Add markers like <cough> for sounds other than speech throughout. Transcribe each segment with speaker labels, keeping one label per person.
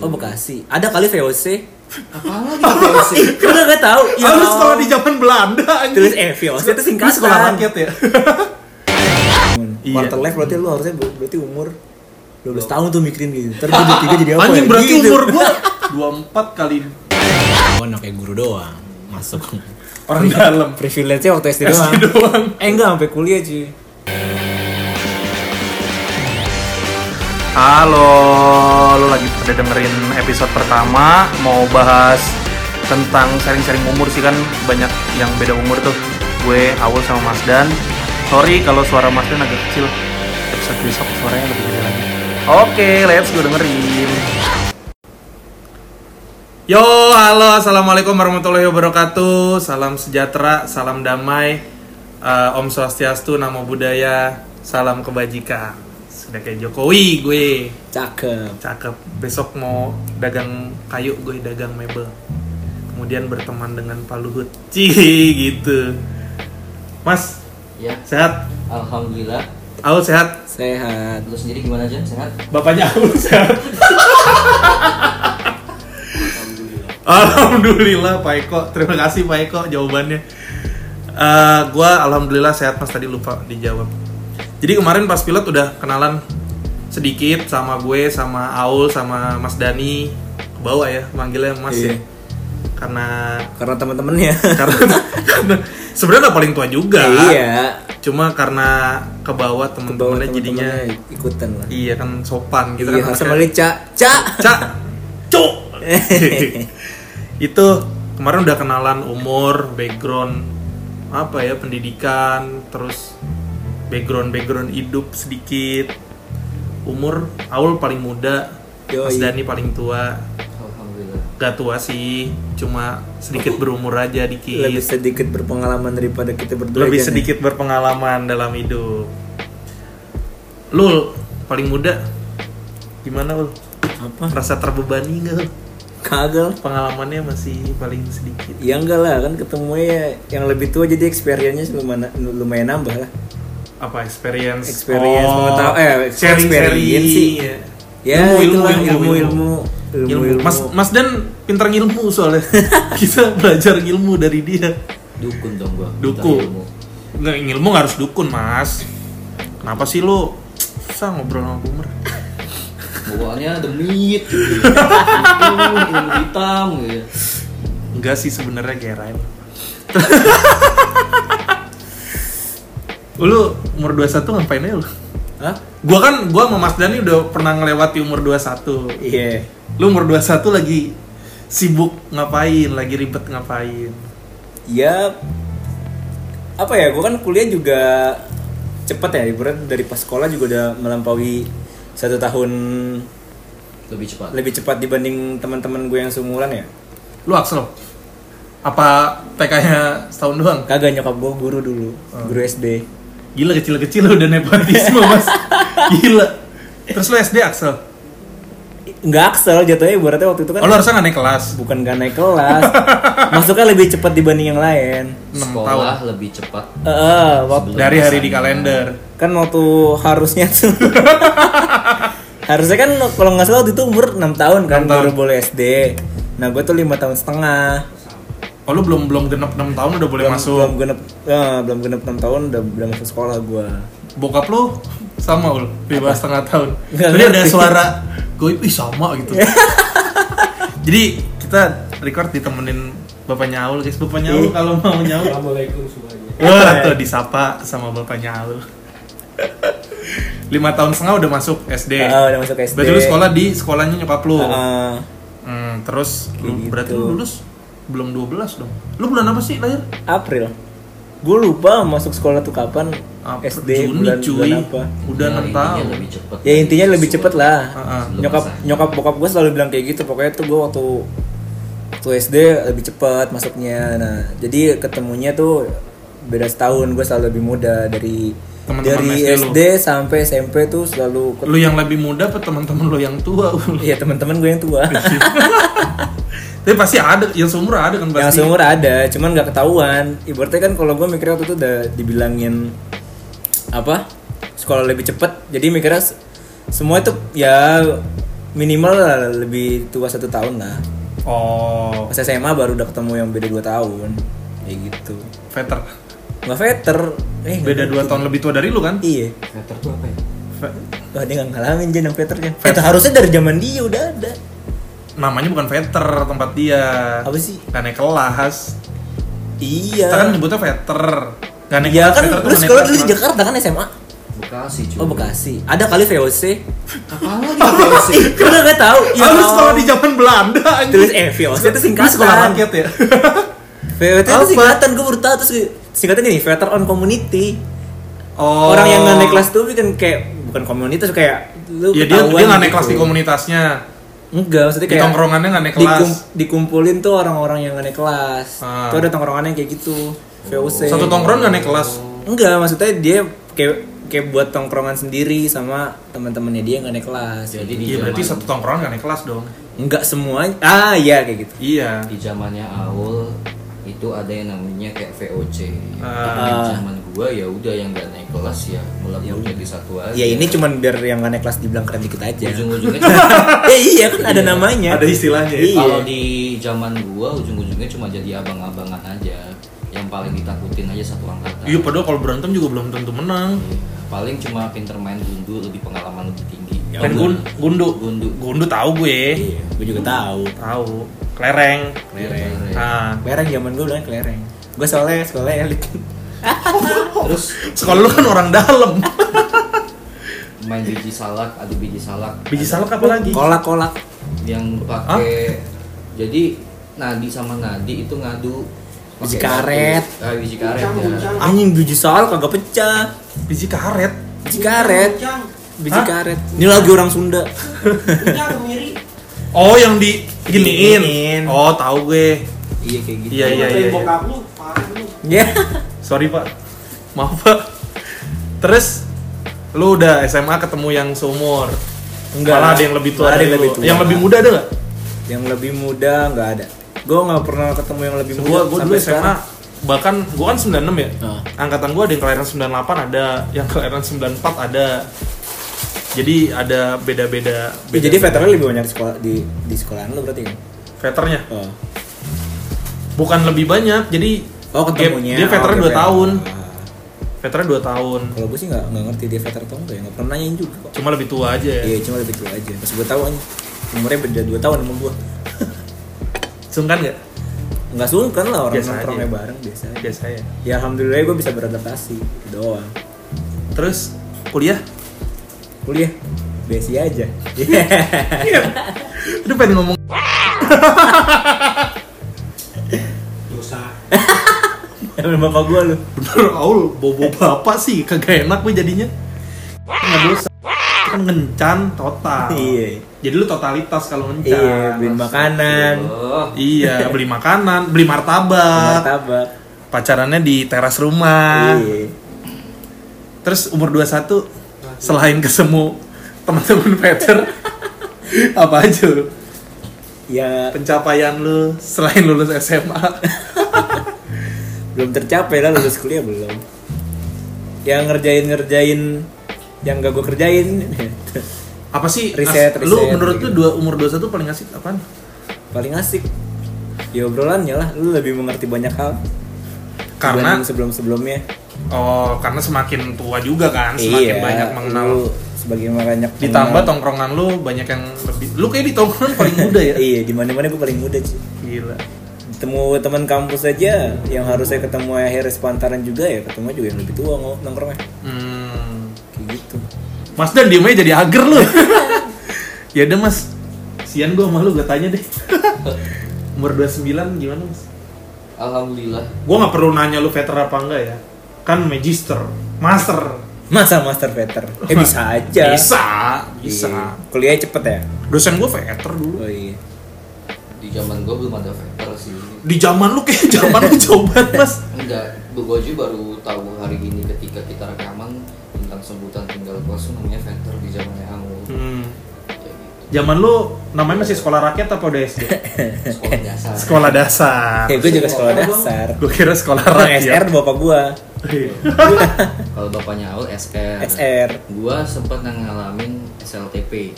Speaker 1: Oh
Speaker 2: <laughs>
Speaker 1: Bekasi. Ada kali VOC.
Speaker 2: Iya,
Speaker 3: Apalagi VOC.
Speaker 1: Gue gak tau.
Speaker 3: <laughs> Harus sekolah di zaman Belanda anjing.
Speaker 1: Terus eh
Speaker 2: ya.
Speaker 1: VOC itu singkatan.
Speaker 3: Ini sekolah rakyat
Speaker 2: <laughs>
Speaker 3: ya. Iya.
Speaker 1: Quarter life berarti lu harusnya ber- berarti umur 12 tahun tuh mikirin gitu. Ntar gue 23 jadi apa?
Speaker 3: Anjing
Speaker 1: ya?
Speaker 3: berarti
Speaker 1: Gitu.
Speaker 3: umur
Speaker 2: <laughs>
Speaker 3: gua
Speaker 1: <laughs>
Speaker 3: 24 kali
Speaker 4: Gua anak kayak guru doang masuk
Speaker 3: orang dalam.
Speaker 1: Privilege-nya waktu SD doang.
Speaker 3: doang.
Speaker 1: Eh enggak sampai kuliah cuy.
Speaker 5: Halo, lo lagi pada dengerin episode pertama Mau bahas tentang sharing-sharing umur sih kan Banyak yang beda umur tuh Gue Awul sama Mas Dan Sorry kalau suara Mas Dan agak kecil Episode besok suaranya lebih gede lagi Oke, let's go dengerin
Speaker 3: Yo, halo, assalamualaikum warahmatullahi wabarakatuh. Salam sejahtera, salam damai, Eh, Om Swastiastu, Namo Buddhaya, salam kebajikan. Sudah kayak Jokowi, gue
Speaker 1: Cakep.
Speaker 3: cakep. Besok mau dagang kayu, gue dagang mebel. Kemudian berteman dengan Pak Luhut, Cih, gitu. Mas,
Speaker 2: Ya,
Speaker 3: sehat?
Speaker 2: alhamdulillah.
Speaker 3: Aul sehat?
Speaker 1: Sehat.
Speaker 2: Lu sendiri gimana aja? Sehat?
Speaker 3: Bapaknya Aul sehat? <laughs> Alhamdulillah Pak Eko, terima kasih Pak Eko jawabannya. Eh gua alhamdulillah sehat Mas tadi lupa dijawab. Jadi kemarin pas pilot udah kenalan sedikit sama gue, sama Aul, sama Mas Dani ke bawah ya manggilnya Mas
Speaker 1: Iya.
Speaker 3: ya. Karena
Speaker 1: Karena temen-temennya. <laughs>
Speaker 3: karena, karena sebenarnya udah paling tua juga.
Speaker 1: Iya.
Speaker 3: Cuma karena
Speaker 1: Ke
Speaker 3: ke bawah
Speaker 1: bawah
Speaker 3: temen-temennya jadinya
Speaker 1: temen-temennya ikutan lah.
Speaker 3: iya kan sopan gitu
Speaker 1: Iya,
Speaker 3: kan.
Speaker 1: harus
Speaker 3: anaknya.
Speaker 1: manggil Ca. Ca. <laughs>
Speaker 3: Cak, cuk. Iya. itu kemarin udah kenalan umur, background apa ya pendidikan, terus background background hidup sedikit. Umur Aul paling muda, Mas
Speaker 1: Yoi.
Speaker 3: Dani paling tua.
Speaker 2: Alhamdulillah.
Speaker 3: Gak tua sih, cuma sedikit berumur aja dikit.
Speaker 1: Lebih sedikit berpengalaman daripada kita berdua.
Speaker 3: Lebih
Speaker 1: Jan, ya.
Speaker 3: sedikit berpengalaman dalam hidup. Lul paling muda. Gimana Ul?
Speaker 1: Apa?
Speaker 3: Rasa terbebani nggak? Ul?
Speaker 1: Kagel.
Speaker 3: pengalamannya masih paling sedikit.
Speaker 1: Ya enggak lah kan ketemunya yang lebih tua jadi experience-nya lumayan, lumayan nambah lah.
Speaker 3: Apa experience?
Speaker 1: Experience, mengetahui- eh,
Speaker 3: sharing sharing.
Speaker 1: experience sih. Ya
Speaker 3: ilmu,
Speaker 1: itulah,
Speaker 3: ilmu, ilmu, ilmu,
Speaker 1: ilmu, ilmu, ilmu.
Speaker 3: Mas Mas Dan pintar ngilmu soalnya. <laughs> Kita belajar ilmu dari dia.
Speaker 2: Dukun dong gua. Minta ilmu.
Speaker 3: Dukun. Nggak ilmu nggak harus dukun, Mas. Kenapa sih lo susah ngobrol sama boomer?
Speaker 2: Bawaannya demit gitu. <laughs> Dukun, ilmu hitam gitu. ya.
Speaker 3: Enggak sih sebenarnya Gerain. <laughs> lu umur 21 ngapain aja lu?
Speaker 1: Hah?
Speaker 3: Gua kan gua sama Mas Dani udah pernah ngelewati umur 21.
Speaker 1: Iya.
Speaker 3: Lu umur 21 lagi sibuk ngapain, lagi ribet ngapain.
Speaker 1: Ya apa ya? Gue kan kuliah juga cepet ya. Ibarat dari pas sekolah juga udah melampaui satu tahun
Speaker 2: Lebih cepat.
Speaker 1: lebih cepat dibanding teman-teman gue yang seumuran ya.
Speaker 3: Lu Axel? Apa TK-nya setahun doang?
Speaker 1: Kagak nyokap gue guru dulu, guru SD.
Speaker 3: Gila kecil-kecil lu udah nepotisme, Mas. Gila. Terus lu SD Axel?
Speaker 1: Nggak aksel jatuhnya ibaratnya waktu itu kan
Speaker 3: Oh, lu harusnya gak naik kelas.
Speaker 1: bukan gak naik
Speaker 3: <laughs>
Speaker 1: kelas. Masuknya lebih cepat dibanding yang lain.
Speaker 3: enam
Speaker 2: Sekolah lebih cepat.
Speaker 1: Eh, waktu
Speaker 3: Dari hari di kalender.
Speaker 1: kan waktu harusnya
Speaker 3: <laughs>
Speaker 1: tuh harusnya kan kalau nggak salah waktu itu umur 6 tahun kan
Speaker 3: 6 tahun.
Speaker 1: baru boleh SD nah gue tuh lima tahun setengah
Speaker 3: Oh, lu belum belum genep 6 tahun udah boleh
Speaker 1: belum,
Speaker 3: masuk.
Speaker 1: belum genep eh, belum genep 6 tahun udah belum masuk sekolah gue
Speaker 3: Bokap lu sama ul bebas setengah tahun.
Speaker 1: Nggak
Speaker 3: Tadi ada
Speaker 1: ngerti. Iya.
Speaker 3: suara gue ih sama gitu. <laughs> Jadi kita record ditemenin bapaknya Aul guys. Bapaknya
Speaker 1: Iya.
Speaker 3: Aul kalau mau nyaul. Assalamualaikum semuanya. Wah, tuh disapa sama bapaknya Aul. Lima tahun setengah udah masuk SD.
Speaker 1: Ah, udah masuk SD.
Speaker 3: Berarti lu sekolah di sekolahnya nyokap lu.
Speaker 1: Heeh.
Speaker 3: Hmm, terus lu
Speaker 1: Gitu.
Speaker 3: berarti lu lulus belum 12 dong. Lu bulan apa sih lahir?
Speaker 1: April gue lupa masuk sekolah tuh kapan
Speaker 3: Apa?
Speaker 1: SD
Speaker 3: Ah, Juni,
Speaker 1: bulan,
Speaker 3: cuy.
Speaker 1: bulan apa Iya,
Speaker 3: Udah
Speaker 2: Nah,
Speaker 3: enam
Speaker 2: intinya
Speaker 3: tahun.
Speaker 2: Lebih cepat.
Speaker 1: ya intinya lebih cepet lah
Speaker 3: Heeh.
Speaker 2: Belum
Speaker 1: nyokap
Speaker 2: masa.
Speaker 1: nyokap bokap gue selalu bilang kayak gitu pokoknya tuh gue waktu waktu SD lebih cepat masuknya nah jadi ketemunya tuh beda setahun gue selalu lebih muda dari dari
Speaker 3: Teman-teman SD lu.
Speaker 1: SD, sampai SMP tuh selalu
Speaker 3: Lu yang lebih muda apa teman-teman lu yang tua? <laughs> Ul?
Speaker 1: ya teman-teman gue yang tua
Speaker 3: <laughs> Tapi pasti ada, yang seumur ada kan
Speaker 1: yang
Speaker 3: pasti.
Speaker 1: seumur ada cuman nggak ketahuan ibaratnya kan kalau gue mikirnya waktu itu udah dibilangin apa sekolah lebih cepet jadi mikirnya s- semua itu ya minimal lah lebih tua satu tahun lah
Speaker 3: Oh,
Speaker 1: pas SMA baru udah ketemu yang beda dua tahun kayak gitu
Speaker 3: veter.
Speaker 1: nggak veter eh nggak
Speaker 3: Beda dua
Speaker 1: ngerti.
Speaker 3: tahun lebih tua dari lu kan?
Speaker 1: iya
Speaker 2: Meter tuh apa ya?
Speaker 3: Ve-
Speaker 1: Wah dia nggak ngalamin Jen yang veter Jen Itu harusnya dari zaman dia udah ada
Speaker 3: namanya bukan veter tempat dia.
Speaker 1: Apa sih?
Speaker 3: Gak naik kelas.
Speaker 1: Iya
Speaker 3: Kita kan nyebutnya veter. Gak naik
Speaker 1: Iya
Speaker 3: kelas,
Speaker 1: kan
Speaker 3: veter
Speaker 1: lu
Speaker 3: tuh gak naik
Speaker 1: sekolah dulu
Speaker 3: kelas,
Speaker 1: di
Speaker 3: Mas.
Speaker 1: Jakarta kan SMA
Speaker 2: Bekasi cuy.
Speaker 1: Oh Bekasi Ada kali VOC
Speaker 2: Apaan lagi di
Speaker 3: <laughs>
Speaker 2: Bekasi?
Speaker 1: Kita nggak tahu
Speaker 3: Ah, lu sekolah di zaman Belanda anjing.
Speaker 1: Iya. Terus eh VOC itu
Speaker 3: Lu sekolah
Speaker 1: singkatan
Speaker 3: rakyat ya?
Speaker 1: VOC itu
Speaker 3: Apa?
Speaker 1: singkatan gue baru tahu terus gue- singkatan ini Veter on Community
Speaker 3: Oh.
Speaker 1: Orang yang nggak naik kelas tuh kan kayak bukan komunitas kayak lu
Speaker 3: Ya dia dia
Speaker 1: ketahuan
Speaker 3: nggak naik
Speaker 1: gitu.
Speaker 3: kelas di komunitasnya.
Speaker 1: Enggak, maksudnya
Speaker 3: Di
Speaker 1: kayak
Speaker 3: tongkrongannya nggak naik kelas.
Speaker 1: dikum- dikumpulin tuh orang-orang yang nggak naik kelas.
Speaker 3: Ah. Oh.
Speaker 1: Itu ada tongkrongannya kayak gitu. VOC.
Speaker 3: Satu tongkrongan nggak naik kelas.
Speaker 1: Enggak, maksudnya dia kayak kayak buat tongkrongan sendiri sama teman-temannya dia nggak naik kelas.
Speaker 2: Jadi di
Speaker 3: Iya berarti
Speaker 2: zaman-
Speaker 3: satu tongkrongan nggak naik kelas dong.
Speaker 1: Enggak semuanya. Ah, iya kayak gitu.
Speaker 3: Iya.
Speaker 2: di zamannya Aul itu ada yang namanya kayak VOC.
Speaker 3: Ah.
Speaker 2: Di zaman gua ya udah yang gak naik kelas ya melebur jadi satu aja.
Speaker 1: Ya ini cuman biar yang nggak naik kelas dibilang keren dikit aja.
Speaker 2: ujung-ujungnya
Speaker 1: <laughs> ya iya kan ada namanya.
Speaker 3: Ada istilahnya ya?
Speaker 1: Iya.
Speaker 2: kalau di zaman gua ujung-ujungnya cuma jadi abang-abangan aja. Yang paling ditakutin aja satu angkatan. Iya.
Speaker 3: Iya padahal kalau berantem juga belum tentu menang.
Speaker 2: Paling cuma pinter main gundu lebih pengalaman lebih tinggi.
Speaker 3: Main Kan gun, Ya gundu.
Speaker 2: Gundu.
Speaker 3: Gundu tahu gue.
Speaker 1: Iya, gue juga tahu.
Speaker 3: Tahu. Klereng.
Speaker 2: Klereng.
Speaker 3: Nah,
Speaker 1: Kelereng zaman gue udah kelereng. Gue soalnya sekolah ya, elit.
Speaker 2: Terus
Speaker 3: sekolah lu kan orang dalam.
Speaker 2: main biji salak, adu biji salak.
Speaker 3: <laughs> Biji
Speaker 2: Ada
Speaker 3: salak apa lagi?
Speaker 1: Kolak-kolak.
Speaker 2: yang pakai jadi Nadi sama Nadi itu ngadu
Speaker 1: Biji
Speaker 2: pakai batu.
Speaker 1: karet.
Speaker 2: Ah, biji karet ya.
Speaker 1: Anjing biji soal kagak pecah.
Speaker 3: Biji karet.
Speaker 1: Biji karet. Biji
Speaker 3: Hah?
Speaker 1: karet. Ini lagi orang Sunda.
Speaker 3: Iya, Oh, yang di
Speaker 1: Giniin.
Speaker 3: giniin. Oh, tahu gue.
Speaker 1: iya kayak gitu.
Speaker 3: <laughs> Iya, iya, iya. iya.
Speaker 1: Ya.
Speaker 3: Sorry, Pak. Maaf, Pak. Terus lu udah SMA ketemu yang seumur.
Speaker 1: Enggak.
Speaker 3: Malah ada yang lebih tua
Speaker 1: Malah ada
Speaker 3: dari
Speaker 1: yang
Speaker 3: lu.
Speaker 1: lebih tua.
Speaker 3: Yang lebih muda ada nggak?
Speaker 1: <laughs> Yang lebih muda nggak ada. Gue nggak pernah ketemu yang lebih muda.
Speaker 3: Gua gua dulu
Speaker 1: sampai
Speaker 3: SMA bahkan gua kan 96 ya.
Speaker 1: Heeh.
Speaker 3: Angkatan gua ada yang kelahiran 98 ada, yang kelahiran 94 ada. Jadi ada beda-beda.
Speaker 1: Ya, jadi veteran lebih banyak di sekolah di di sekolahan lu berarti kan?
Speaker 3: veternya
Speaker 1: Oh,
Speaker 3: bukan lebih banyak. Jadi
Speaker 1: oh ketemunya.
Speaker 3: gap- dia veteran
Speaker 1: oh,
Speaker 3: 2
Speaker 1: veteran.
Speaker 3: tahun.
Speaker 1: Ah.
Speaker 3: Veteran 2 tahun.
Speaker 1: Kalau gue sih nggak nggak ngerti dia veteran atau enggak ya nggak pernah nanyain juga kok.
Speaker 3: Cuma lebih tua aja ya.
Speaker 1: Iya cuma lebih tua aja. Pas gue tahu anjing umurnya beda 2 tahun sama gue.
Speaker 3: Sungkan kan nggak?
Speaker 1: Nggak sungkan lah orang
Speaker 3: Biasa aja.
Speaker 1: nongkrongnya bareng biasa. aja.
Speaker 3: Biasa ya.
Speaker 1: Ya alhamdulillah gue bisa beradaptasi itu doang.
Speaker 3: Terus kuliah?
Speaker 1: Kuliah besi aja. Iya.
Speaker 3: Aduh pengen ngomong
Speaker 1: <laughs> Sama bapak gue lu.
Speaker 3: bener Aul bobo bapak sih kagak enak gue jadinya nggak dosa kan ngencan total
Speaker 1: Iya.
Speaker 3: jadi lu totalitas kalau ngencan
Speaker 1: Iya, beliin makanan,
Speaker 2: Oh,
Speaker 3: Iya, beli makanan beli martabak
Speaker 1: martabak.
Speaker 3: pacarannya di teras rumah
Speaker 1: Iya.
Speaker 3: terus umur 21 selain kesemu teman-teman
Speaker 1: <laughs>
Speaker 3: Peter apa aja lu?
Speaker 1: Ya
Speaker 3: pencapaian lu selain lulus
Speaker 1: <laughs>
Speaker 3: SMA
Speaker 1: belum tercapai lah lulus kuliah belum yang ngerjain ngerjain yang gak gue kerjain <laughs>
Speaker 3: apa sih
Speaker 1: Riset,
Speaker 3: as- lu
Speaker 1: riset,
Speaker 3: menurut lu
Speaker 1: gitu.
Speaker 3: dua umur 21 paling asik apaan?
Speaker 1: paling asik ya obrolannya lah lu lebih mengerti banyak hal
Speaker 3: Karena-
Speaker 1: sebelum sebelumnya
Speaker 3: Oh, karena semakin tua juga kan, semakin banyak mengenal.
Speaker 1: Iya, sebagai banyak
Speaker 3: Ditambah
Speaker 1: mengenal.
Speaker 3: tongkrongan lu banyak yang lebih. Lu kayak di tongkrongan paling muda ya.
Speaker 1: <laughs> iya di mana mana gue paling muda sih
Speaker 3: Gila.
Speaker 1: ketemu teman kampus aja yang harusnya ketemu akhirnya sepantaran juga ya ketemu juga yang lebih tua ngo- nongkrongnya
Speaker 3: Hmm.
Speaker 1: kayak gitu
Speaker 3: Mas Dan diem aja jadi ager
Speaker 1: <laughs>
Speaker 3: lu. ya udah Mas. Sian gua sama lu gua tanya deh. <laughs> umur 29 gimana Mas?
Speaker 2: alhamdulillah.
Speaker 3: Gua nggak perlu nanya lu veteran apa enggak ya. Kan magister, master.
Speaker 1: masa master
Speaker 3: <laughs>
Speaker 1: veter eh bisa aja
Speaker 3: Bisa, bisa.
Speaker 1: Iya. kuliah cepet ya
Speaker 3: Dosen gua veter dulu.
Speaker 1: oh iya
Speaker 2: Di zaman gua belum ada veter sih.
Speaker 3: Di zaman lu kayak <laughs> zaman lu jauh banget,
Speaker 1: <laughs>
Speaker 3: Mas.
Speaker 2: Enggak, bu gua aja baru tahu hari ini ketika kita rekaman tentang sebutan tinggal kelas tuh namanya veter di zamannya Aul.
Speaker 3: Hmm.
Speaker 2: Kayak gitu.
Speaker 3: Zaman lu namanya masih sekolah rakyat apa udah SD?
Speaker 2: Sekolah dasar.
Speaker 3: <laughs> Sekolah dasar.
Speaker 1: Eh, gue juga sekolah dasar.
Speaker 3: Gue kira sekolah
Speaker 1: Orang
Speaker 3: rakyat.
Speaker 1: SR bapak gua.
Speaker 3: Iya.
Speaker 2: Kalau bapaknya Aul SR.
Speaker 1: SR.
Speaker 2: Gua sempat ngalamin SLTP.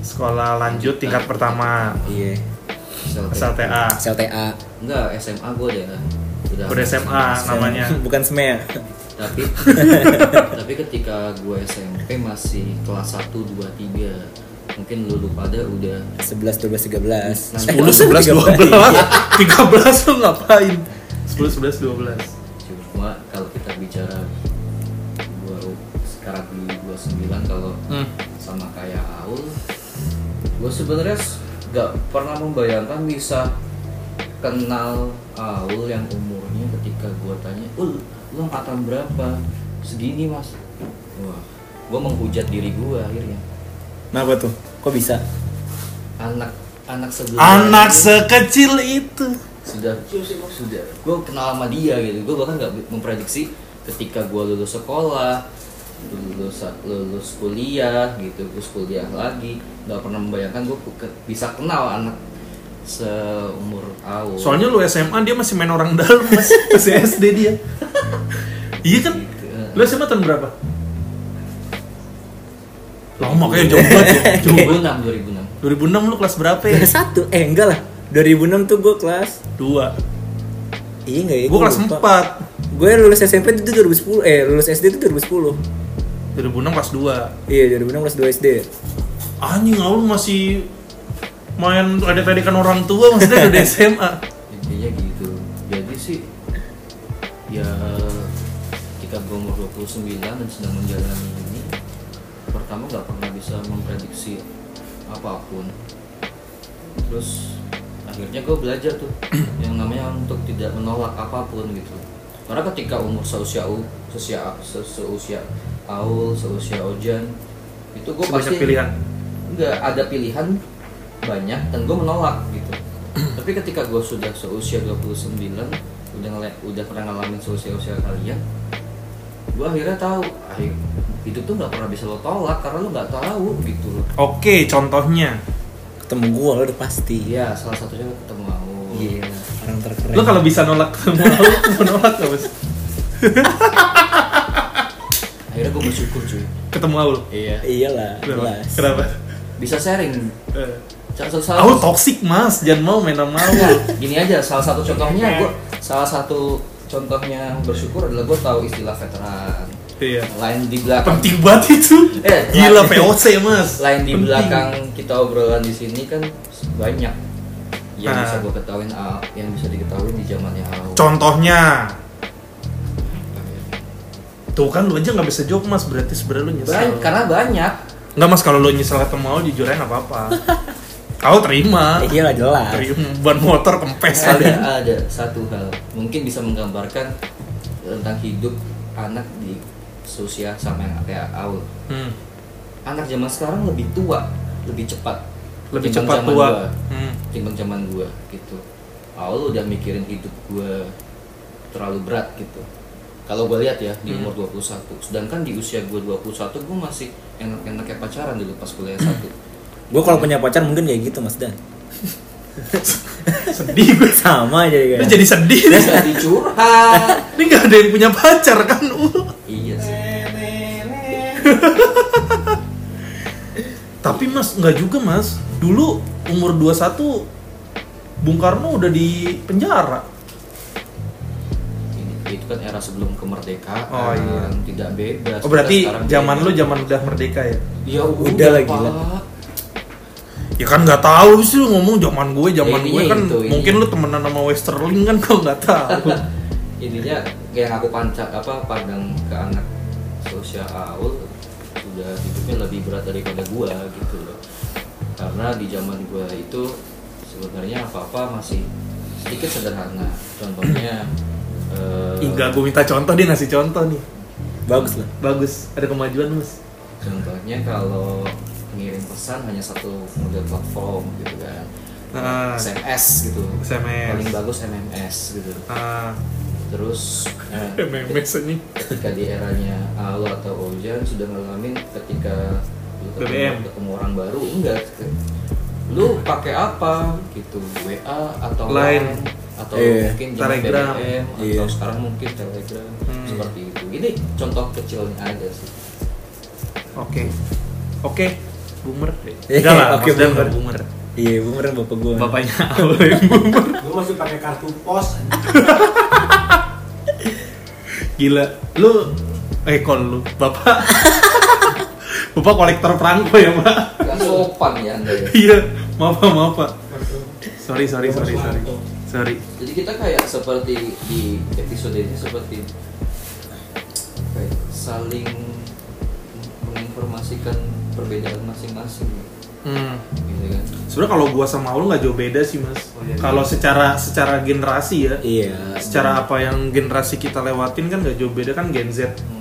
Speaker 3: sekolah lanjut tingkat pertama
Speaker 1: Iya.
Speaker 3: SLTA
Speaker 1: SLTA.
Speaker 2: Enggak, SMA gue ada. Udah,
Speaker 3: udah SMA namanya
Speaker 1: <laughs> Bukan SME ya?
Speaker 2: Tapi tapi ketika gue SMP masih kelas 1 2 3. Mungkin lu lupa pada udah
Speaker 1: 11, 12, 13.
Speaker 3: 10 11 12
Speaker 1: Iya.
Speaker 3: 13 lu ngapain 10 11 12
Speaker 2: cuma kalau kita bicara gua sekarang di 29 kalau
Speaker 3: Hmm.
Speaker 2: sama kayak Aul gue sebenarnya s- nggak pernah membayangkan bisa kenal Aul yang umurnya ketika gue tanya Ul lu angkatan berapa segini mas wah gue menghujat diri gue akhirnya
Speaker 1: Kenapa tuh? Kok bisa?
Speaker 2: anak anak sebelum
Speaker 3: anak sekecil itu
Speaker 2: sudah sudah gue kenal sama dia gitu gue bahkan nggak memprediksi ketika gue lulus sekolah lulus lulus kuliah gitu terus kuliah lagi nggak pernah membayangkan gue bisa kenal anak seumur aku
Speaker 3: soalnya lu SMA dia masih main orang dalam mas masih SD dia iya kan lu SMA tahun berapa lama kayak oh, jauh banget
Speaker 2: <laughs>
Speaker 3: ya jauh banget
Speaker 2: 2006 2006
Speaker 3: 2006 lu kelas berapa ya?
Speaker 2: <laughs>
Speaker 1: Kelas 1? Eh enggak lah. 2006 tuh gue kelas
Speaker 3: Dua
Speaker 1: Iya enggak ya?
Speaker 3: Gue kelas 4
Speaker 1: Gue lulus SMP itu 2010. Eh, lulus SD itu 2010.
Speaker 3: 2006 kelas 2
Speaker 1: Iya, 2006 kelas 2 SD.
Speaker 3: Anjing Aul masih main ledek-ledekan orang tua
Speaker 2: <laughs>
Speaker 3: maksudnya udah SMA.
Speaker 2: intinya gitu jadi sih ya ketika gue umur 29 dan sedang menjalani ini pertama nggak pernah bisa memprediksi apapun terus akhirnya gue belajar tuh <clears throat> yang namanya untuk tidak menolak apapun gitu karena ketika umur seusia u seusia se- seusia Aul seusia Ojan itu gue
Speaker 3: Banyak
Speaker 2: pasti
Speaker 3: pilihan.
Speaker 2: nggak ada pilihan banyak dan gue menolak gitu <clears throat> tapi ketika gue sudah seusia 29 udah ngeliat udah pernah ngalamin seusia usia kalian gue akhirnya tahu akhir itu tuh nggak pernah bisa lo tolak karena lo nggak tahu gitu lo
Speaker 3: Oke, contohnya.
Speaker 1: Ketemu gue lo udah pasti.
Speaker 2: iya salah satunya lo ketemu Aul
Speaker 1: Iya, orang terkeren.
Speaker 3: Lo kalau bisa nolak <laughs> ketemu Aul, mau nolak gak mas?
Speaker 2: akhirnya gue bersyukur cuy
Speaker 3: Ketemu Aul.
Speaker 2: iya
Speaker 1: Iyalah,
Speaker 3: Kenapa?
Speaker 1: jelas.
Speaker 3: Kenapa?
Speaker 2: bisa sharing
Speaker 3: Eh,
Speaker 2: salah satu
Speaker 3: Aul toksik mas, jangan mau main sama Aul.
Speaker 2: Enggak, gini aja salah satu contohnya gue salah satu contohnya bersyukur adalah gue tahu istilah veteran
Speaker 3: Iya.
Speaker 2: lain di belakang
Speaker 3: Penting banget itu.
Speaker 2: Eh, lain-
Speaker 3: Gila VOC mas.
Speaker 2: lain di
Speaker 3: Penting.
Speaker 2: belakang kita obrolan di sini kan banyak yang
Speaker 3: Nah.
Speaker 2: bisa gue ketahuin Al- yang bisa diketahui di zamannya Aul.
Speaker 3: Contohnya. Tuh kan lu aja nggak bisa jawab mas, berarti sebenarnya lu nyesel.
Speaker 2: Banyak, karena banyak
Speaker 3: Nggak mas, kalau lu nyesel ketemu Aul jujur aja
Speaker 2: <laughs>
Speaker 3: nggak apa-apa. Aul terima.
Speaker 1: Eh,
Speaker 2: Iya.
Speaker 1: Iyalah jelas.
Speaker 3: Terima ban motor kempes kali.
Speaker 2: ada ada satu hal mungkin bisa menggambarkan tentang hidup anak di seusia sama yang kayak Aul.
Speaker 3: Hmm.
Speaker 2: Anak zaman sekarang lebih tua, lebih cepat.
Speaker 3: lebih
Speaker 2: Timbang
Speaker 3: cepat
Speaker 2: zaman
Speaker 3: tua.
Speaker 2: gua.
Speaker 3: Hmm.
Speaker 2: timbang zaman gue gitu awal udah mikirin hidup gue terlalu berat gitu kalau gue lihat ya
Speaker 3: Hmm.
Speaker 2: di umur 21 sedangkan di usia gue 21 gue masih enak-enaknya pacaran dulu pas kuliah satu
Speaker 3: <laughs>
Speaker 1: Gue kalau punya pacar mungkin kayak gitu Mas Dan.
Speaker 3: Sedih gue.
Speaker 1: Sama aja
Speaker 2: Iya.
Speaker 3: Lu
Speaker 1: kayak.
Speaker 3: jadi sedih. nih.
Speaker 2: bisa dicurhat
Speaker 3: Ini gak ada yang punya pacar kan Ul?
Speaker 2: iya sih
Speaker 3: Tapi mas, nggak juga mas Dulu umur 21 Bung Karno udah di penjara
Speaker 2: Ini- itu kan era sebelum kemerdekaan
Speaker 3: Oh, iya.
Speaker 2: tidak bebas
Speaker 3: Oh berarti
Speaker 2: Kita sekarang
Speaker 3: zaman
Speaker 2: bebas.
Speaker 3: lu zaman udah merdeka ya?
Speaker 2: ya udah,
Speaker 1: Udah lah,
Speaker 2: Pak.
Speaker 1: gila.
Speaker 3: Ya kan nggak tahu sih lu ngomong zaman gue, zaman
Speaker 2: Ini
Speaker 3: gue kan
Speaker 2: itu, ini.
Speaker 3: mungkin lu temenan sama Westerling kan kok nggak
Speaker 2: <laughs>
Speaker 3: tahu.
Speaker 2: intinya kayak aku pancak apa pandang ke anak sosial Aul sudah hidupnya lebih berat daripada gua gitu loh karena di zaman gua itu sebenarnya apa apa masih sedikit sederhana contohnya eh,
Speaker 3: Enggak, gue minta contoh dia ngasih contoh nih.
Speaker 1: Bagus lah.
Speaker 3: Bagus, ada kemajuan mas.
Speaker 2: contohnya kalau ngirim pesan hanya satu model platform gitu kan
Speaker 3: Ah.
Speaker 2: SMS gitu
Speaker 3: SMS.
Speaker 2: paling bagus MMS gitu
Speaker 3: Ah,
Speaker 2: terus eh,
Speaker 3: MMS ini.
Speaker 2: ketika di eranya Alo atau Ojan sudah ngalamin ketika lu
Speaker 3: BBM.
Speaker 2: ketemu, ketemu orang baru enggak ke- lu pakai apa gitu WA atau
Speaker 3: Line.
Speaker 2: atau
Speaker 1: Iya,
Speaker 2: mungkin zaman
Speaker 3: Telegram.
Speaker 2: BBM, atau
Speaker 1: Iya.
Speaker 2: sekarang mungkin Telegram
Speaker 3: Hmm.
Speaker 2: seperti itu ini contoh kecilnya aja sih
Speaker 3: Oke. Oke. boomer deh.
Speaker 1: Iya,
Speaker 3: Enggak lah,
Speaker 1: <laughs> oke,
Speaker 3: Mas Dan
Speaker 1: boomer.
Speaker 3: nggak boomer.
Speaker 1: Iya, boomer bapak gue.
Speaker 3: <laughs> Bapaknya Aul yang boomer.
Speaker 6: Gue masih pakai kartu pos.
Speaker 3: Gila. Lu eh kok lu bapak Bapak kolektor perangko ya, Pak?
Speaker 2: Gak sopan ya anda ya.
Speaker 3: Iya, maaf, Pak, maaf, Pak. Sorry, sorry, sorry, sorry. Sorry.
Speaker 2: Jadi kita kayak seperti di episode ini seperti kayak saling menginformasikan perbedaan masing-masing
Speaker 3: Hmm.
Speaker 2: gitu kan.
Speaker 3: Sebenarnya kalau gua sama Aul nggak jauh beda sih, Mas.
Speaker 2: Oh, iya, iya.
Speaker 3: Kalau secara secara generasi ya,
Speaker 1: Iya.
Speaker 3: secara apa yang generasi kita lewatin kan nggak jauh beda kan Gen Z.
Speaker 2: Hmm.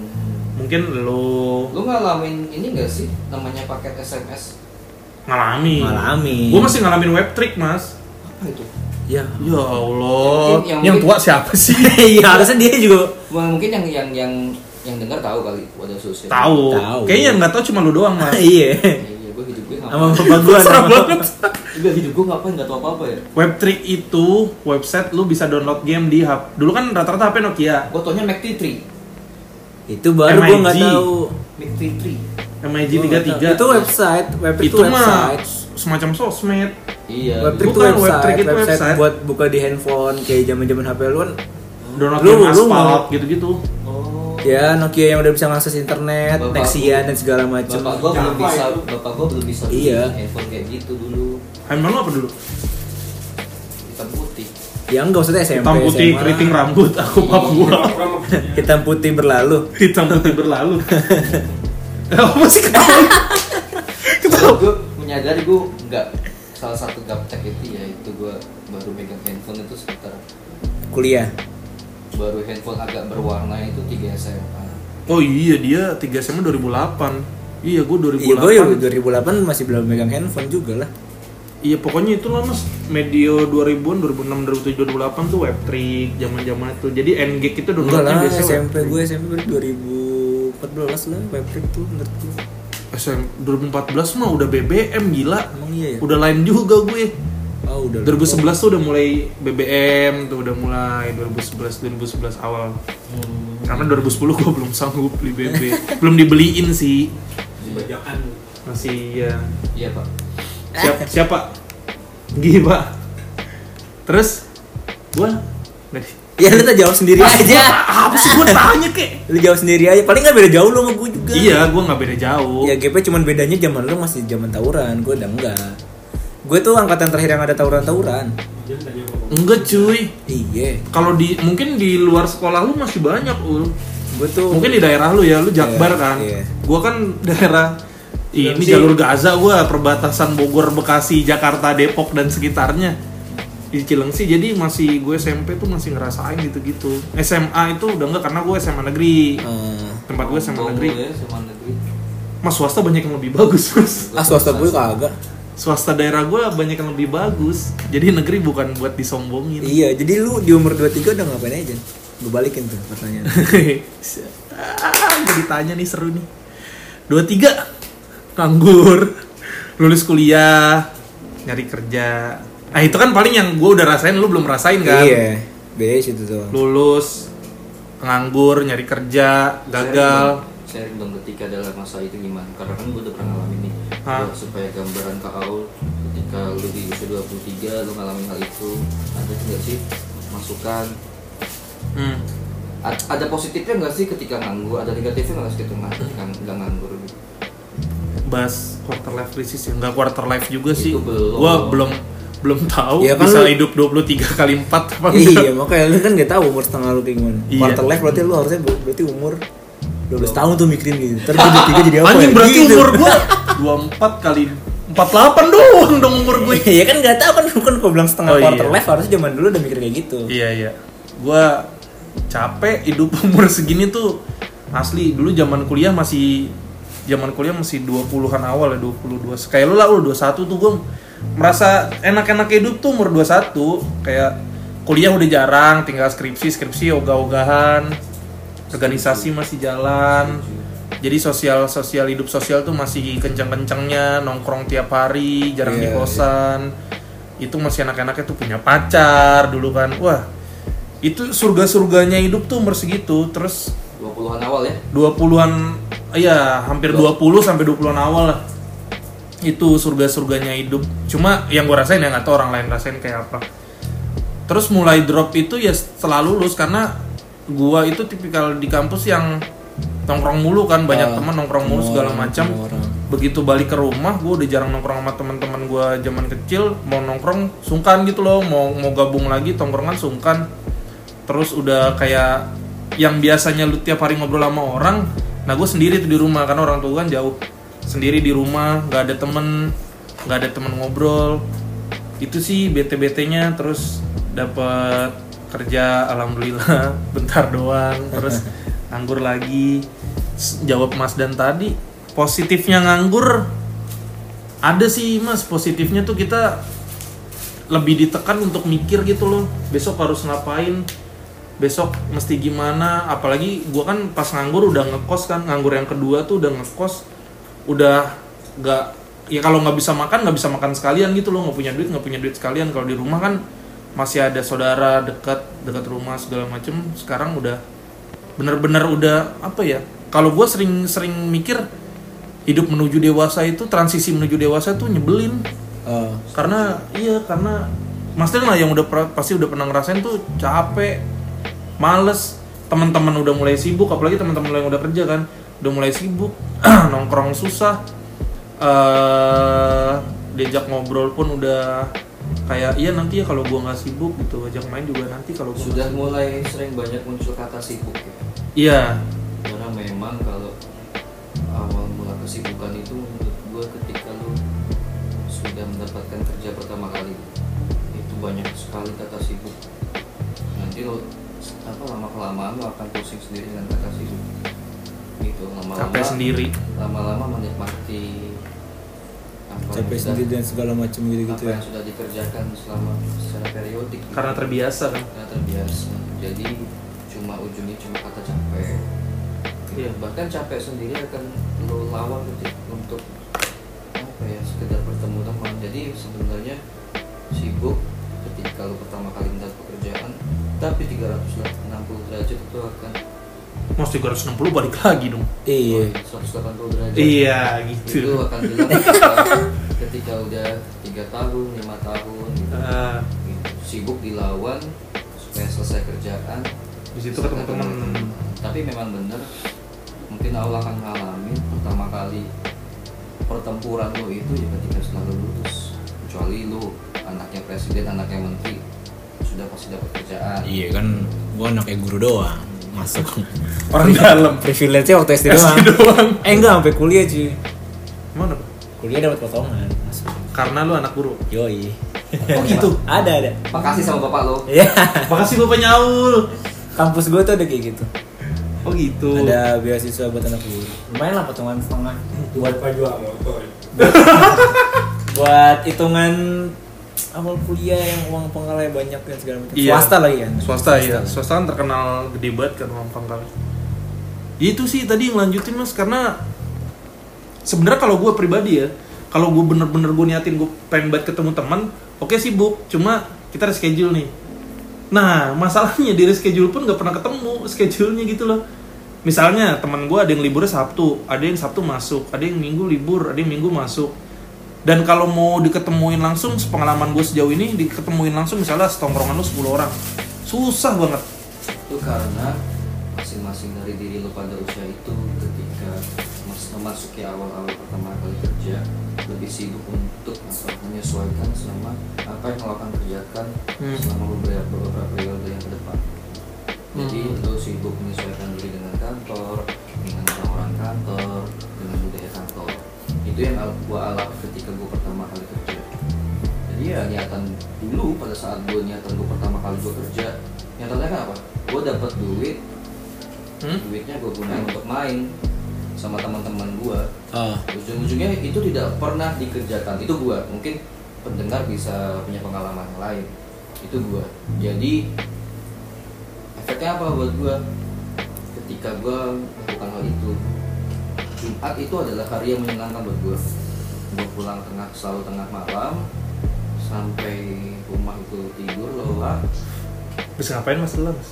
Speaker 3: Mungkin lo
Speaker 2: Lu ngalamin ini gak sih namanya paket SMS?
Speaker 3: ngalami.
Speaker 1: Ngalami.
Speaker 3: Gua masih ngalamin web trick, Mas.
Speaker 2: Apa itu?
Speaker 1: Ya.
Speaker 3: Ya Allah.
Speaker 2: Yang mungkin- yang
Speaker 3: tua siapa sih?
Speaker 2: <laughs>
Speaker 1: Iya, harusnya dia juga
Speaker 2: Wah, Mungkin yang yang yang yang dengar tahu kali wadah sosial.
Speaker 3: tahu.
Speaker 1: Tahu.
Speaker 3: Kayaknya yang nggak tahu cuma lu doang, Mas.
Speaker 1: iya.
Speaker 2: Iya, gue hidup gue
Speaker 1: Sama
Speaker 2: ngapain?
Speaker 1: bapak gue
Speaker 3: Serem banget.
Speaker 2: Juga hidup gue ngapain gak tau apa-apa ya.
Speaker 3: Web trick itu website lu bisa download game di HP. Dulu kan rata-rata HP Nokia.
Speaker 2: Gue taunya Mac T3.
Speaker 1: Itu baru gue nggak
Speaker 3: MIG.
Speaker 1: tahu.
Speaker 2: Mac T3.
Speaker 3: MIG
Speaker 1: Gua Oh, nggak
Speaker 3: 33.
Speaker 1: tahu. Itu website, web itu,
Speaker 3: itu mah
Speaker 1: website.
Speaker 2: Ya.
Speaker 3: semacam sosmed.
Speaker 2: Iya.
Speaker 1: Web trick itu
Speaker 3: Bukan,
Speaker 1: website,
Speaker 3: web trick itu
Speaker 1: website,
Speaker 3: website.
Speaker 1: buat buka di handphone kayak zaman-zaman HP lu kan
Speaker 3: Download
Speaker 1: Lu-
Speaker 3: game
Speaker 1: lu
Speaker 3: aspal
Speaker 1: mau-
Speaker 3: gitu-gitu.
Speaker 2: Oh.
Speaker 1: ya Nokia yang udah bisa mengakses internet,
Speaker 2: Bapak
Speaker 1: Nexia
Speaker 2: gua-
Speaker 1: dan segala macam.
Speaker 2: Bapak gue belum
Speaker 6: Java
Speaker 2: bisa,
Speaker 6: itu.
Speaker 2: bapak gue belum bisa beli
Speaker 1: Iya.
Speaker 2: handphone kayak gitu dulu.
Speaker 3: Emang lu apa dulu?
Speaker 2: Hitam putih.
Speaker 1: Ya enggak usah SMP,
Speaker 3: Hitam putih,
Speaker 1: SMA.
Speaker 3: keriting rambut, <laughs> aku pap gua.
Speaker 1: <laughs> Hitam putih berlalu.
Speaker 3: Hitam putih berlalu. <laughs>
Speaker 1: <laughs>
Speaker 3: apa sih ketawa?
Speaker 2: Kalau gue menyadari gue nggak salah satu gaptek itu ya itu gue baru megang handphone itu sekitar
Speaker 1: Kuliah.
Speaker 2: baru handphone agak berwarna itu 3 SMA.
Speaker 3: Oh iya dia 3 SMA 2008. Iya gua
Speaker 1: Iya, gue ya
Speaker 3: 2008.
Speaker 1: 2008 masih belum megang handphone juga lah.
Speaker 3: Iya pokoknya itu lah mas medio 2000-an 2006 2007 2008 tuh web trick zaman-zaman itu. Jadi NG itu
Speaker 1: Enggak
Speaker 3: downloadnya
Speaker 1: lah,
Speaker 3: biasanya web
Speaker 1: SMP
Speaker 3: trick.
Speaker 1: gue SMP baru 2014 lah, webtrick tuh menurut gue.
Speaker 3: SMP 2014 mah udah BBM gila.
Speaker 1: Emang iya ya?
Speaker 3: Udah lain juga gue.
Speaker 1: Oh, udah.
Speaker 3: 2011 tuh udah mulai BBM tuh udah mulai 2011 2011 awal. Karena 2010 gue belum sanggup beli
Speaker 1: <laughs>
Speaker 3: BB. belum dibeliin sih.
Speaker 6: Bajakan.
Speaker 3: Masih ya.
Speaker 2: Iya pak.
Speaker 3: Siap, siapa? Gih, Pak. Terus gua Nadi.
Speaker 1: Ya lu tuh jawab <laughs> sendiri
Speaker 3: Eh,
Speaker 1: aja.
Speaker 3: Apa sih gua tanya, Kek?
Speaker 1: Lu jawab sendiri aja. Paling kan beda jauh lu sama gue juga.
Speaker 3: Iya, gua nggak beda jauh.
Speaker 1: Ya GP cuman bedanya zaman lu masih zaman tawuran, gue udah enggak. Gue tuh angkatan terakhir yang ada tawuran-tawuran.
Speaker 6: Jangan tanya ngomong.
Speaker 3: Enggak, cuy.
Speaker 1: Iya.
Speaker 3: Kalau di mungkin di luar sekolah lu masih banyak, Ul.
Speaker 1: Gue tuh
Speaker 3: Mungkin di daerah lu ya, lu Jakbar
Speaker 1: Iya,
Speaker 3: kan.
Speaker 1: iya.
Speaker 3: Gua kan daerah ini
Speaker 1: sih.
Speaker 3: jalur Gaza gua, perbatasan Bogor, Bekasi, Jakarta, Depok dan sekitarnya. Di Cilengsi jadi masih gue SMP tuh masih ngerasain gitu-gitu. SMA itu udah enggak karena gue SMA negeri.
Speaker 1: Eh,
Speaker 3: Tempat gue SMA
Speaker 2: Bau
Speaker 3: negeri.
Speaker 2: mulu ya, sama negeri.
Speaker 3: Mas swasta banyak yang lebih bagus, <laughs> Mas.
Speaker 1: ah swasta gue kagak.
Speaker 3: Swasta daerah gue banyak yang lebih bagus. Jadi negeri bukan buat disombongin.
Speaker 1: Iya, jadi lu di umur 23 udah ngapain aja? Gue balikin tuh pertanyaan.
Speaker 3: ah, gua <laughs> ditanya nih seru nih. Dua tiga, nganggur, lulus kuliah, nyari kerja. Ah itu kan paling yang gue udah rasain, lu belum rasain kan?
Speaker 1: Iya, beda situ doang.
Speaker 3: Lulus, nganggur, nyari kerja,
Speaker 1: Iya,
Speaker 3: gagal.
Speaker 2: sharing dong ketika dalam masa itu gimana karena kan gue udah pernah ngalamin nih
Speaker 3: Hah?
Speaker 2: Gua supaya gambaran ke Aul ketika lu di usia 23 lu ngalamin hal itu ada nggak sih masukan
Speaker 1: iya.
Speaker 3: Hmm.
Speaker 2: A- ada positifnya nggak sih ketika nganggur ada negatifnya nggak sih ketika ngang- ketika nggak nganggur gitu
Speaker 3: Bahas quarter life crisis ya, nggak quarter life juga sih.
Speaker 2: Itu belum.
Speaker 3: Gue belum belum tahu
Speaker 1: Ya kan
Speaker 3: bisa
Speaker 1: lu-
Speaker 3: hidup 23 kali 4 apa enggak.
Speaker 1: Iya, makanya lu kan gak tahu umur setengah lu kayak gimana.
Speaker 3: Oh, Iya.
Speaker 1: Quarter life berarti lu harusnya ber- berarti umur 12 tahun tuh mikirin gitu. Ntar gua 23 jadi apa?
Speaker 3: Anjing
Speaker 1: ya?
Speaker 3: berarti
Speaker 1: Gitu.
Speaker 3: umur gua 24 kali 48 doang dong umur gue.
Speaker 1: <laughs> Iya kan gak tahu kan kan gua bilang setengah
Speaker 3: Oh, iya.
Speaker 1: quarter life harusnya zaman dulu udah mikir kayak gitu.
Speaker 3: Iya iya. Gua capek hidup <laughs> umur segini tuh asli dulu zaman kuliah masih zaman kuliah masih 20-an awal ya 22. Kayak lu lah lu 21 tuh gua merasa enak-enak hidup tuh umur 21 kayak kuliah udah jarang tinggal skripsi skripsi ogah-ogahan organisasi masih jalan jadi sosial sosial hidup sosial tuh masih kenceng-kencengnya nongkrong tiap hari jarang di
Speaker 1: Iya,
Speaker 3: kosan kosan. itu masih anak-anaknya tuh punya pacar dulu kan wah itu surga-surganya hidup tuh umur segitu terus
Speaker 2: 20-an awal ya
Speaker 3: 20-an iya hampir 20 sampai 20-an awal lah itu surga-surganya hidup cuma yang gue rasain ya nggak tau orang lain rasain kayak apa terus mulai drop itu ya setelah lulus karena gua itu tipikal di kampus yang nongkrong mulu kan
Speaker 1: Ah,
Speaker 3: banyak teman nongkrong mulu
Speaker 1: semua
Speaker 3: segala
Speaker 1: orang,
Speaker 3: macam
Speaker 1: semua orang.
Speaker 3: begitu balik ke rumah gua udah jarang nongkrong sama teman-teman gua zaman kecil mau nongkrong sungkan gitu loh mau mau gabung lagi tongkrongan sungkan terus udah kayak yang biasanya lu tiap hari ngobrol sama orang nah gue sendiri tuh di rumah karena orang tua kan jauh sendiri di rumah nggak ada temen nggak ada temen ngobrol itu sih bete betenya terus dapat kerja alhamdulillah <laughs> bentar doang terus nganggur lagi S- jawab mas dan tadi positifnya nganggur ada sih mas positifnya tuh kita lebih ditekan untuk mikir gitu loh besok harus ngapain besok mesti gimana apalagi gua kan pas nganggur udah ngekos kan nganggur yang kedua tuh udah ngekos udah nggak ya kalau nggak bisa makan nggak bisa makan sekalian gitu loh nggak punya duit nggak punya duit sekalian kalau di rumah kan masih ada saudara dekat dekat rumah segala macem sekarang udah bener-bener udah apa ya kalau gua sering-sering mikir hidup menuju dewasa itu transisi menuju dewasa tuh nyebelin
Speaker 1: Eh,
Speaker 3: karena iya karena Mas Del lah yang udah per- pasti udah pernah ngerasain tuh capek males teman-teman udah mulai sibuk apalagi teman-teman lo yang udah kerja kan udah mulai sibuk <clears throat> nongkrong susah eh diajak ngobrol pun udah kayak iya nanti ya kalau gua nggak sibuk gitu ajak main juga nanti kalau gua
Speaker 2: sudah mulai sering banyak muncul kata sibuk ya
Speaker 3: iya
Speaker 2: karena memang kalau awal mula kesibukan itu menurut gue ketika lu sudah mendapatkan kerja pertama kali itu banyak sekali kata sibuk nanti lo apa lama kelamaan lo akan pusing sendiri dengan kata sibuk gitu lama-lama
Speaker 3: capek sendiri
Speaker 2: lama-lama menikmati apa
Speaker 1: capek
Speaker 2: yang sudah-
Speaker 1: sendiri dan segala macam gitu
Speaker 2: apa
Speaker 1: gitu ya
Speaker 2: yang sudah dikerjakan selama secara periodik
Speaker 3: karena terbiasa kan
Speaker 2: Nggak terbiasa jadi cuma ujungnya cuma kata capek Gitu.
Speaker 3: Iya.
Speaker 2: bahkan capek sendiri akan lo lawan ketik- untuk apa ya sekedar bertemu teman jadi sebenarnya sibuk ketika lo pertama kali mendapat pekerjaan tapi 360 derajat itu akan
Speaker 3: mas 360 balik lagi dong
Speaker 1: iya
Speaker 2: 180 derajat
Speaker 3: iya
Speaker 2: itu
Speaker 3: gitu
Speaker 2: akan
Speaker 3: <laughs>
Speaker 2: bilang ketika, ketika udah tiga tahun lima tahun gitu.
Speaker 3: Eh,
Speaker 2: Gitu. sibuk dilawan supaya selesai kerjaan
Speaker 3: di situ ketemu teman
Speaker 2: tapi memang bener mungkin awal akan ngalamin pertama kali pertempuran lo itu ya ketika selalu lulus kecuali lo anaknya presiden anaknya menteri sudah pasti dapat kerjaan
Speaker 4: Iya kan, gua anaknya guru doang
Speaker 1: <laughs>
Speaker 4: masuk.
Speaker 3: orang dalam
Speaker 1: privilege waktu SD doang. eh enggak sampai kuliah cuy
Speaker 3: mana Pak?
Speaker 1: kuliah dapat potongan masuk
Speaker 3: karena lu anak guru
Speaker 1: yoi
Speaker 2: oh gitu
Speaker 1: <laughs> ada ada
Speaker 2: makasih sama bapak lo
Speaker 1: ya
Speaker 3: Makasih Bapak Nyaul.
Speaker 1: <laughs> kampus gue tuh ada kayak gitu
Speaker 3: Oh gitu.
Speaker 1: ada beasiswa buat anak guru lumayan lah potongan setengah
Speaker 6: buat baju sama motor
Speaker 1: <laughs> buat hitungan awal kuliah yang uang pengalaman banyak dan segala macam
Speaker 3: Iya.
Speaker 1: swasta lagi kan
Speaker 3: Swasta ya. Swasta kan terkenal gede banget kan uang pangkal. Ya, Itu sih tadi yang lanjutin Mas karena sebenarnya kalau gue pribadi ya, kalau gue bener-bener gue niatin gue pengen banget ketemu teman, oke sibuk, cuma kita reschedule nih. Nah, masalahnya di reschedule pun gak pernah ketemu schedule-nya gitu loh. Misalnya teman gue ada yang liburnya Sabtu, ada yang Sabtu masuk, ada yang Minggu libur, ada yang Minggu masuk. Dan kalau mau diketemuin langsung, sepengalaman gue sejauh ini diketemuin langsung misalnya setongkrongan lu 10 orang. Susah banget.
Speaker 2: itu karena masing-masing dari diri lo pada usia itu ketika mas- memasuki awal-awal pertama kali kerja lebih sibuk untuk masalah menyesuaikan sama apa yang lo akan kerjakan
Speaker 3: Hmm.
Speaker 2: selama beberapa beberapa periode yang ke depan jadi
Speaker 3: Hmm.
Speaker 2: lo sibuk menyesuaikan diri dengan kantor dengan orang-orang kantor dengan budaya kantor itu yang al- gua alami ketika gua pertama kali kerja jadi
Speaker 3: Iya.
Speaker 2: ya niatan dulu pada saat gue niatan gue pertama kali gue kerja niatannya kan apa gue dapat duit
Speaker 3: Hmm?
Speaker 2: duitnya gue gunain untuk main sama teman-teman gue
Speaker 1: Ah,
Speaker 2: ujung-ujungnya itu tidak pernah dikerjakan itu gue mungkin pendengar bisa punya pengalaman yang lain itu gue jadi efeknya apa buat gue ketika gue melakukan hal itu Jumat itu adalah hari yang menyenangkan buat gue gue pulang tengah selalu tengah malam sampai rumah itu tidur lelah
Speaker 3: Bisa ngapain Mas Lelah, Mas?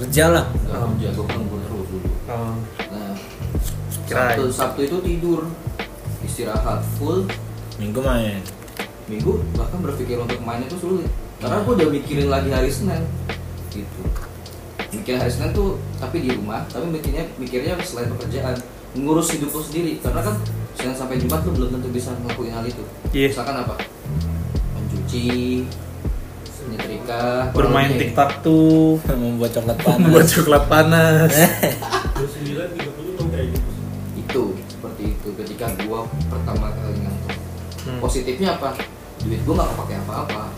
Speaker 1: kerja lah
Speaker 2: nggak
Speaker 3: Oh.
Speaker 2: kerja gue kan gue terus dulu
Speaker 3: Oh,
Speaker 2: nah
Speaker 3: Kirain.
Speaker 2: Sabtu, Sabtu itu tidur istirahat full
Speaker 4: Minggu
Speaker 1: <laughs>
Speaker 4: main.
Speaker 2: minggu bahkan berpikir untuk main itu sulit karena aku udah mikirin lagi hari Senin gitu mikir hari Senin tuh tapi di rumah tapi mikirnya mikirnya selain pekerjaan ngurus hidup lu sendiri karena kan Senin sampai Jumat lu belum tentu bisa ngelakuin hal itu
Speaker 5: Iya.
Speaker 2: misalkan apa mencuci nyetrika
Speaker 3: bermain
Speaker 2: olahraga.
Speaker 3: tiktok tuh
Speaker 4: Membuat coklat panas.
Speaker 3: membuat coklat
Speaker 1: <laughs>
Speaker 3: panas
Speaker 1: Hmm.
Speaker 6: sembilan tiga puluh tuh kayak gitu
Speaker 2: itu seperti itu ketika gua pertama kali ngantor
Speaker 3: Hmm.
Speaker 2: positifnya apa duit gua nggak pakai apa-apa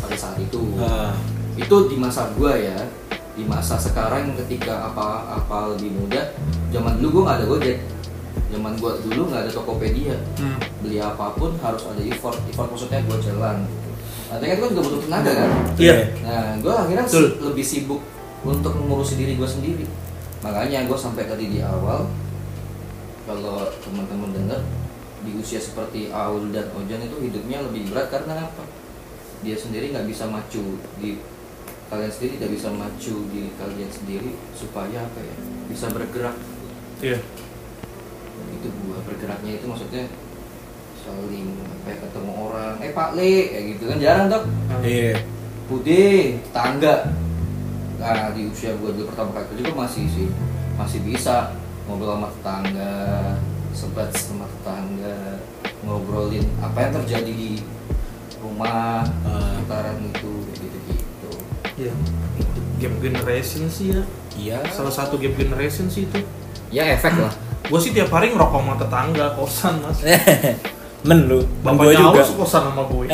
Speaker 2: pada saat itu
Speaker 4: Ah,
Speaker 1: Nah,
Speaker 2: itu di masa gua ya di masa sekarang ketika apa-apa lebih mudah zaman dulu gua nggak ada gojek zaman gua dulu nggak ada tokopedia
Speaker 3: Hmm.
Speaker 2: beli apapun harus ada effort effort maksudnya gua jalan gitu. artinya kan gua juga butuh tenaga kan
Speaker 3: iya
Speaker 2: Nah, gue akhirnya
Speaker 3: Betul.
Speaker 2: si- lebih sibuk untuk mengurusi diri gue sendiri. Makanya gue sampai tadi di awal, kalau teman-teman dengar di usia seperti Aul dan Ojan itu hidupnya lebih berat karena apa? Dia sendiri nggak bisa macu di kalian sendiri nggak bisa macu di kalian sendiri supaya apa ya? Bisa bergerak
Speaker 3: iya
Speaker 2: itu gua bergeraknya itu maksudnya saling kayak ketemu orang eh Pak Le kayak gitu kan jarang dok
Speaker 1: Iya.
Speaker 2: Bude, tangga. Nah, di usia gua dulu pertama kali kerja gua masih sih masih bisa ngobrol sama tetangga, sebat sama tetangga, ngobrolin apa yang terjadi di rumah,
Speaker 4: Ah.
Speaker 2: sekitaran itu gitu-gitu.
Speaker 3: iya game generation sih ya
Speaker 4: iya.
Speaker 3: salah satu game generation sih itu
Speaker 2: Ya efek lah.
Speaker 3: gue sih tiap hari ngerokok sama tetangga kosan mas
Speaker 1: <laughs> Men lu. Men gua
Speaker 3: bapaknya Aul kosan sama gue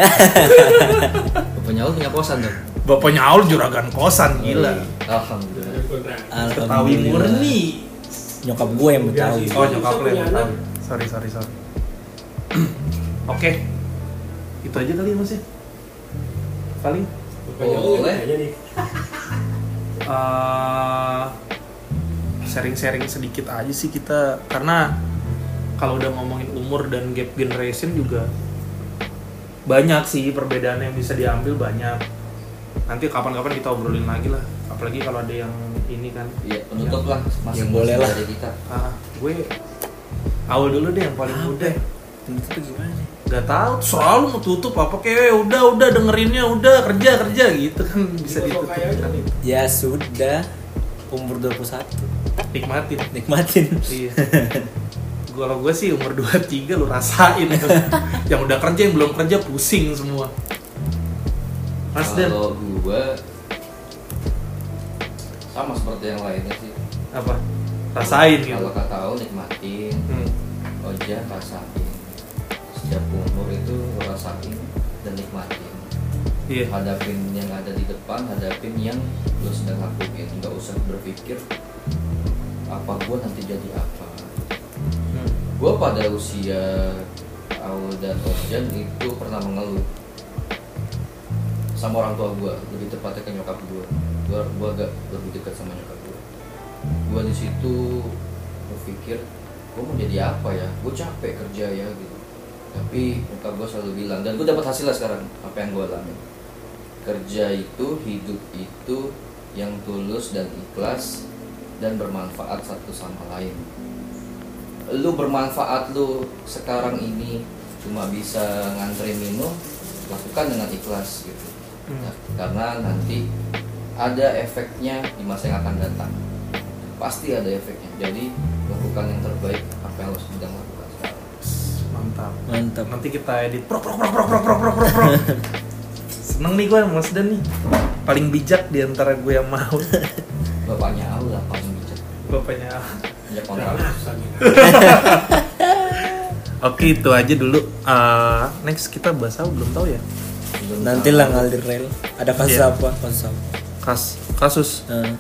Speaker 2: Bapaknya lu punya kosan dong.
Speaker 3: bapaknya Aul juragan kosan gila
Speaker 2: Iya. Alhamdulillah.
Speaker 6: Ada kontrak
Speaker 3: Betawi
Speaker 4: Alhamdulillah.
Speaker 3: murni
Speaker 1: Nyokap gue yang Betawi.
Speaker 3: oh nyokap lu yang
Speaker 6: Punya anak.
Speaker 3: Betawi sorry sorry sorry <clears throat> oke itu aja kali ya mas ya paling
Speaker 6: Bukannya lu
Speaker 2: Boleh.
Speaker 6: kayaknya nih
Speaker 3: eh, sharing-sharing sedikit aja sih kita karena kalau udah ngomongin umur dan gap generation juga banyak sih perbedaan yang bisa diambil banyak nanti kapan-kapan kita obrolin lagi lah apalagi kalau ada yang ini kan
Speaker 2: Iya, penutup lah masih
Speaker 1: Yang boleh lah.
Speaker 2: kita.
Speaker 3: ah, gue awal dulu deh yang paling
Speaker 1: Apa?
Speaker 3: muda
Speaker 1: Oh, Itu tuh gimana?
Speaker 3: Gak tahu selalu mau tutup apa kayak "Eh, udah udah dengerinnya udah kerja kerja gitu kan bisa
Speaker 6: Kosong
Speaker 3: ditutup
Speaker 6: kayak gitu.
Speaker 1: Ya sudah. Umur 21
Speaker 3: nikmatin
Speaker 1: nikmatin.
Speaker 3: Iya. Kalau gue sih umur 23 lu rasain tuh. yang udah kerja yang belum kerja pusing semua. Mas Dan,
Speaker 2: Kalau gua sama seperti yang lainnya sih.
Speaker 3: apa? Rasain gitu.
Speaker 2: Kalau kata Aul nikmatin,
Speaker 3: Hmm.
Speaker 2: Oja rasain setiap umur itu lo rasain dan nikmatin
Speaker 3: Iya.
Speaker 2: hadapin yang ada di depan hadapin yang lo sedang lakuin nggak usah berpikir apa gua nanti jadi apa
Speaker 3: Hmm.
Speaker 2: gua pada usia Aul dan Ojan itu pernah mengeluh sama orang tua gua lebih tepatnya ke nyokap gua gua gua agak lebih dekat sama nyokap gua gua di situ berpikir gua mau jadi apa ya gua capek kerja ya gitu tapi nyokap gua selalu bilang dan gua dapat hasilnya sekarang apa yang gua alami kerja itu hidup itu yang tulus dan ikhlas dan bermanfaat satu sama lain lu bermanfaat lu sekarang ini cuma bisa ngantri minum lakukan dengan ikhlas gitu
Speaker 3: Hmm.
Speaker 2: Nah, karena nanti ada efeknya di masa yang akan datang pasti ada efeknya jadi lakukan yang terbaik apa yang lo sedang lakukan sekarang
Speaker 3: Mantap.
Speaker 1: <laughs> Mantap.
Speaker 3: Nanti kita edit. Prok prok prok prok prok prok prok prok prok. Seneng nih gue sama Mas Dan nih. Paling bijak di antara gue yang mau.
Speaker 2: bapaknya Allah paling bijak
Speaker 3: Bapaknya.
Speaker 2: punya kontrak
Speaker 3: Oke itu aja dulu. Eh, next kita bahas apa belum tahu ya?
Speaker 2: Belum
Speaker 1: Nanti
Speaker 2: tahu.
Speaker 1: lah ngalir rel. Ada kasus
Speaker 3: Iya.
Speaker 1: apa? Kasus apa?
Speaker 3: Kas kasus.
Speaker 1: Nah,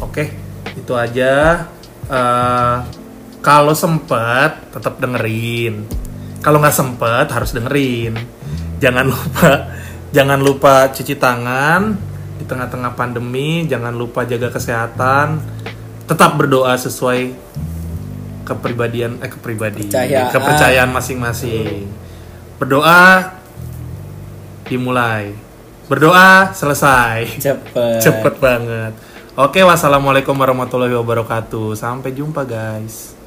Speaker 3: Oke, itu aja. Eh, kalau sempat tetap dengerin. Kalau nggak sempat harus dengerin. Jangan lupa, <laughs> jangan lupa cuci tangan di tengah-tengah pandemi. Jangan lupa jaga kesehatan. Tetap berdoa sesuai kepribadian eh kepribadi
Speaker 1: Kepercayaan.
Speaker 3: kepercayaan masing-masing. Berdoa dimulai. Berdoa selesai.
Speaker 1: cepet.
Speaker 3: Cepet banget. Oke, wassalamualaikum warahmatullahi wabarakatuh. Sampai jumpa, guys.